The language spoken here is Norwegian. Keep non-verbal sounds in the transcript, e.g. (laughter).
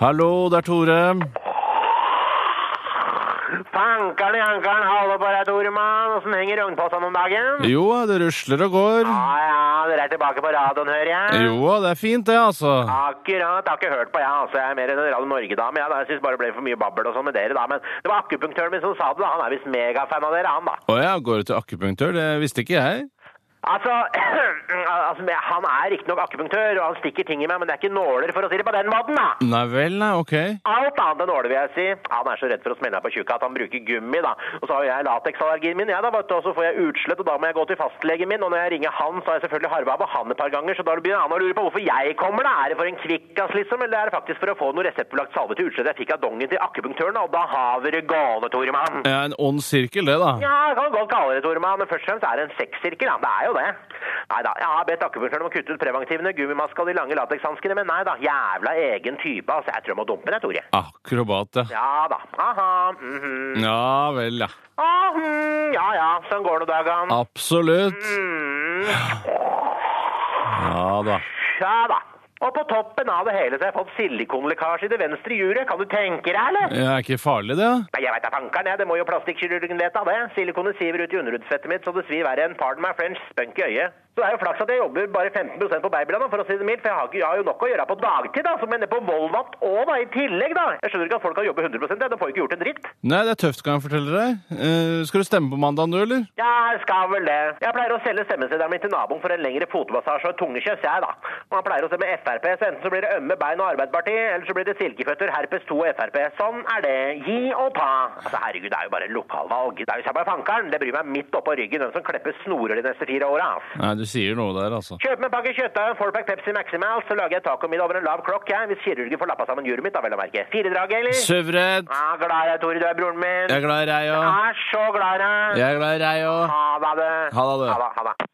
Hallo, det er Tore. Mm. Fankeren i ankeren, hallo på deg, Toremann. Åssen henger rognposten om dagen? Jo, det rusler og går. Ja, ja, dere er tilbake på radioen, hører jeg. Jo, det er fint det, altså. Akkurat. Jeg har ikke hørt på, jeg. altså. Jeg er mer enn en Radio Norge-dame. Jeg, da. jeg syns bare det ble for mye babbel og sånn med dere, da. Men det var akupunktøren min som sa det, da. Han er visst megafan av dere, han, da. Å ja, går du til akupunktør? Det visste ikke jeg. Altså, (clears throat) altså Han er riktignok akupunktør, og han stikker ting i meg, men det er ikke nåler, for å si det på den måten, da. Nei vel, nei, ok. Alt annet enn nåler, vil jeg si. Han er så redd for å smelle meg på tjukka at han bruker gummi, da. Og så har jo jeg lateksallergien min, jeg, da, vet du, og så får jeg utslett, og da må jeg gå til fastlegen min. Og når jeg ringer han, så har jeg selvfølgelig harva på han et par ganger, så da begynner han å lure på hvorfor jeg kommer, da. Er det for en kvikkas, liksom, eller er det faktisk for å få noe reseptbelagt salve til utslett jeg fikk av dongen til akupunktøren, da? Og da har vi det gående, Toremann. Ja, en ond sirkel det, da. Ja, jeg kan godt kalle det, Toremann, men først og fremst er det en sekssirkel, ja. Det er jo det. Nei da, jeg har bedt akupunktøren om å kutte ut preventivene, gummimaska og de lange latekshanskene, men nei da, jævla egen type, altså. Jeg tror jeg må dumpe deg, Tore. Akrobat, ja. Ja da. Aha. mhm. Ja vel, ja. Aha, ja ja, sånn går det Ah. dagene. Absolutt. Mm, Ja da. ja da. Og på toppen av det hele så har jeg fått silikonlekkasje i det venstre juret. Kan du tenke deg, eller? Ja, er ikke farlig det? Nei, jeg veit da fankeren, jeg. Det må jo plastikkirurgen vite av det. Silikonet siver ut i underhudsfettet mitt, så det svir verre enn pardon my french spunk i øyet. Så det er jo flaks at jeg jobber bare 15 på babyland, for å si det mildt. For jeg har, ikke, jeg har jo nok å gjøre på dagtid, da. Som jeg er nede på Volvat òg, da. I tillegg, da. Jeg skjønner ikke at folk kan jobbe 100 jeg. De får jo ikke gjort en dritt. Nei, det er tøft, kan jeg fortelle deg. Eh, skal du stemme på mandag du, eller? Ja, jeg skal vel det. Jeg pleier å selge stemmeseddelen min til naboen for en lengre fotmassasje og et tungekyss, jeg, da. Og han pleier å stemme Frp, så enten så blir det ømme bein og Arbeiderpartiet, eller så blir det silkeføtter, herpes 2 og Frp. Sånn er det. Gi og ta. Altså, herregud, det er jo bare lokalvalg. Det er jo samme fankeren. Det bryr meg midt oppå ryggen hvem som klepper snorer de neste fire åra. ass. Nei, du sier noe der, altså. Kjøp meg en pakke kjøttdeig og en fourpack Pepsi Maximal, så lager jeg tacomiddag over en lav klokk, jeg, hvis kirurgen får lappa sammen juret mitt, da, vel å merke. Firedraget, eller? Søvredd. Ja, glad i deg, Tore. Du er broren min. Jeg er glad i deg òg. Jeg er så glad i deg. Jeg er glad i deg òg. Ha det. Ha det, du. Ha det. Ha det.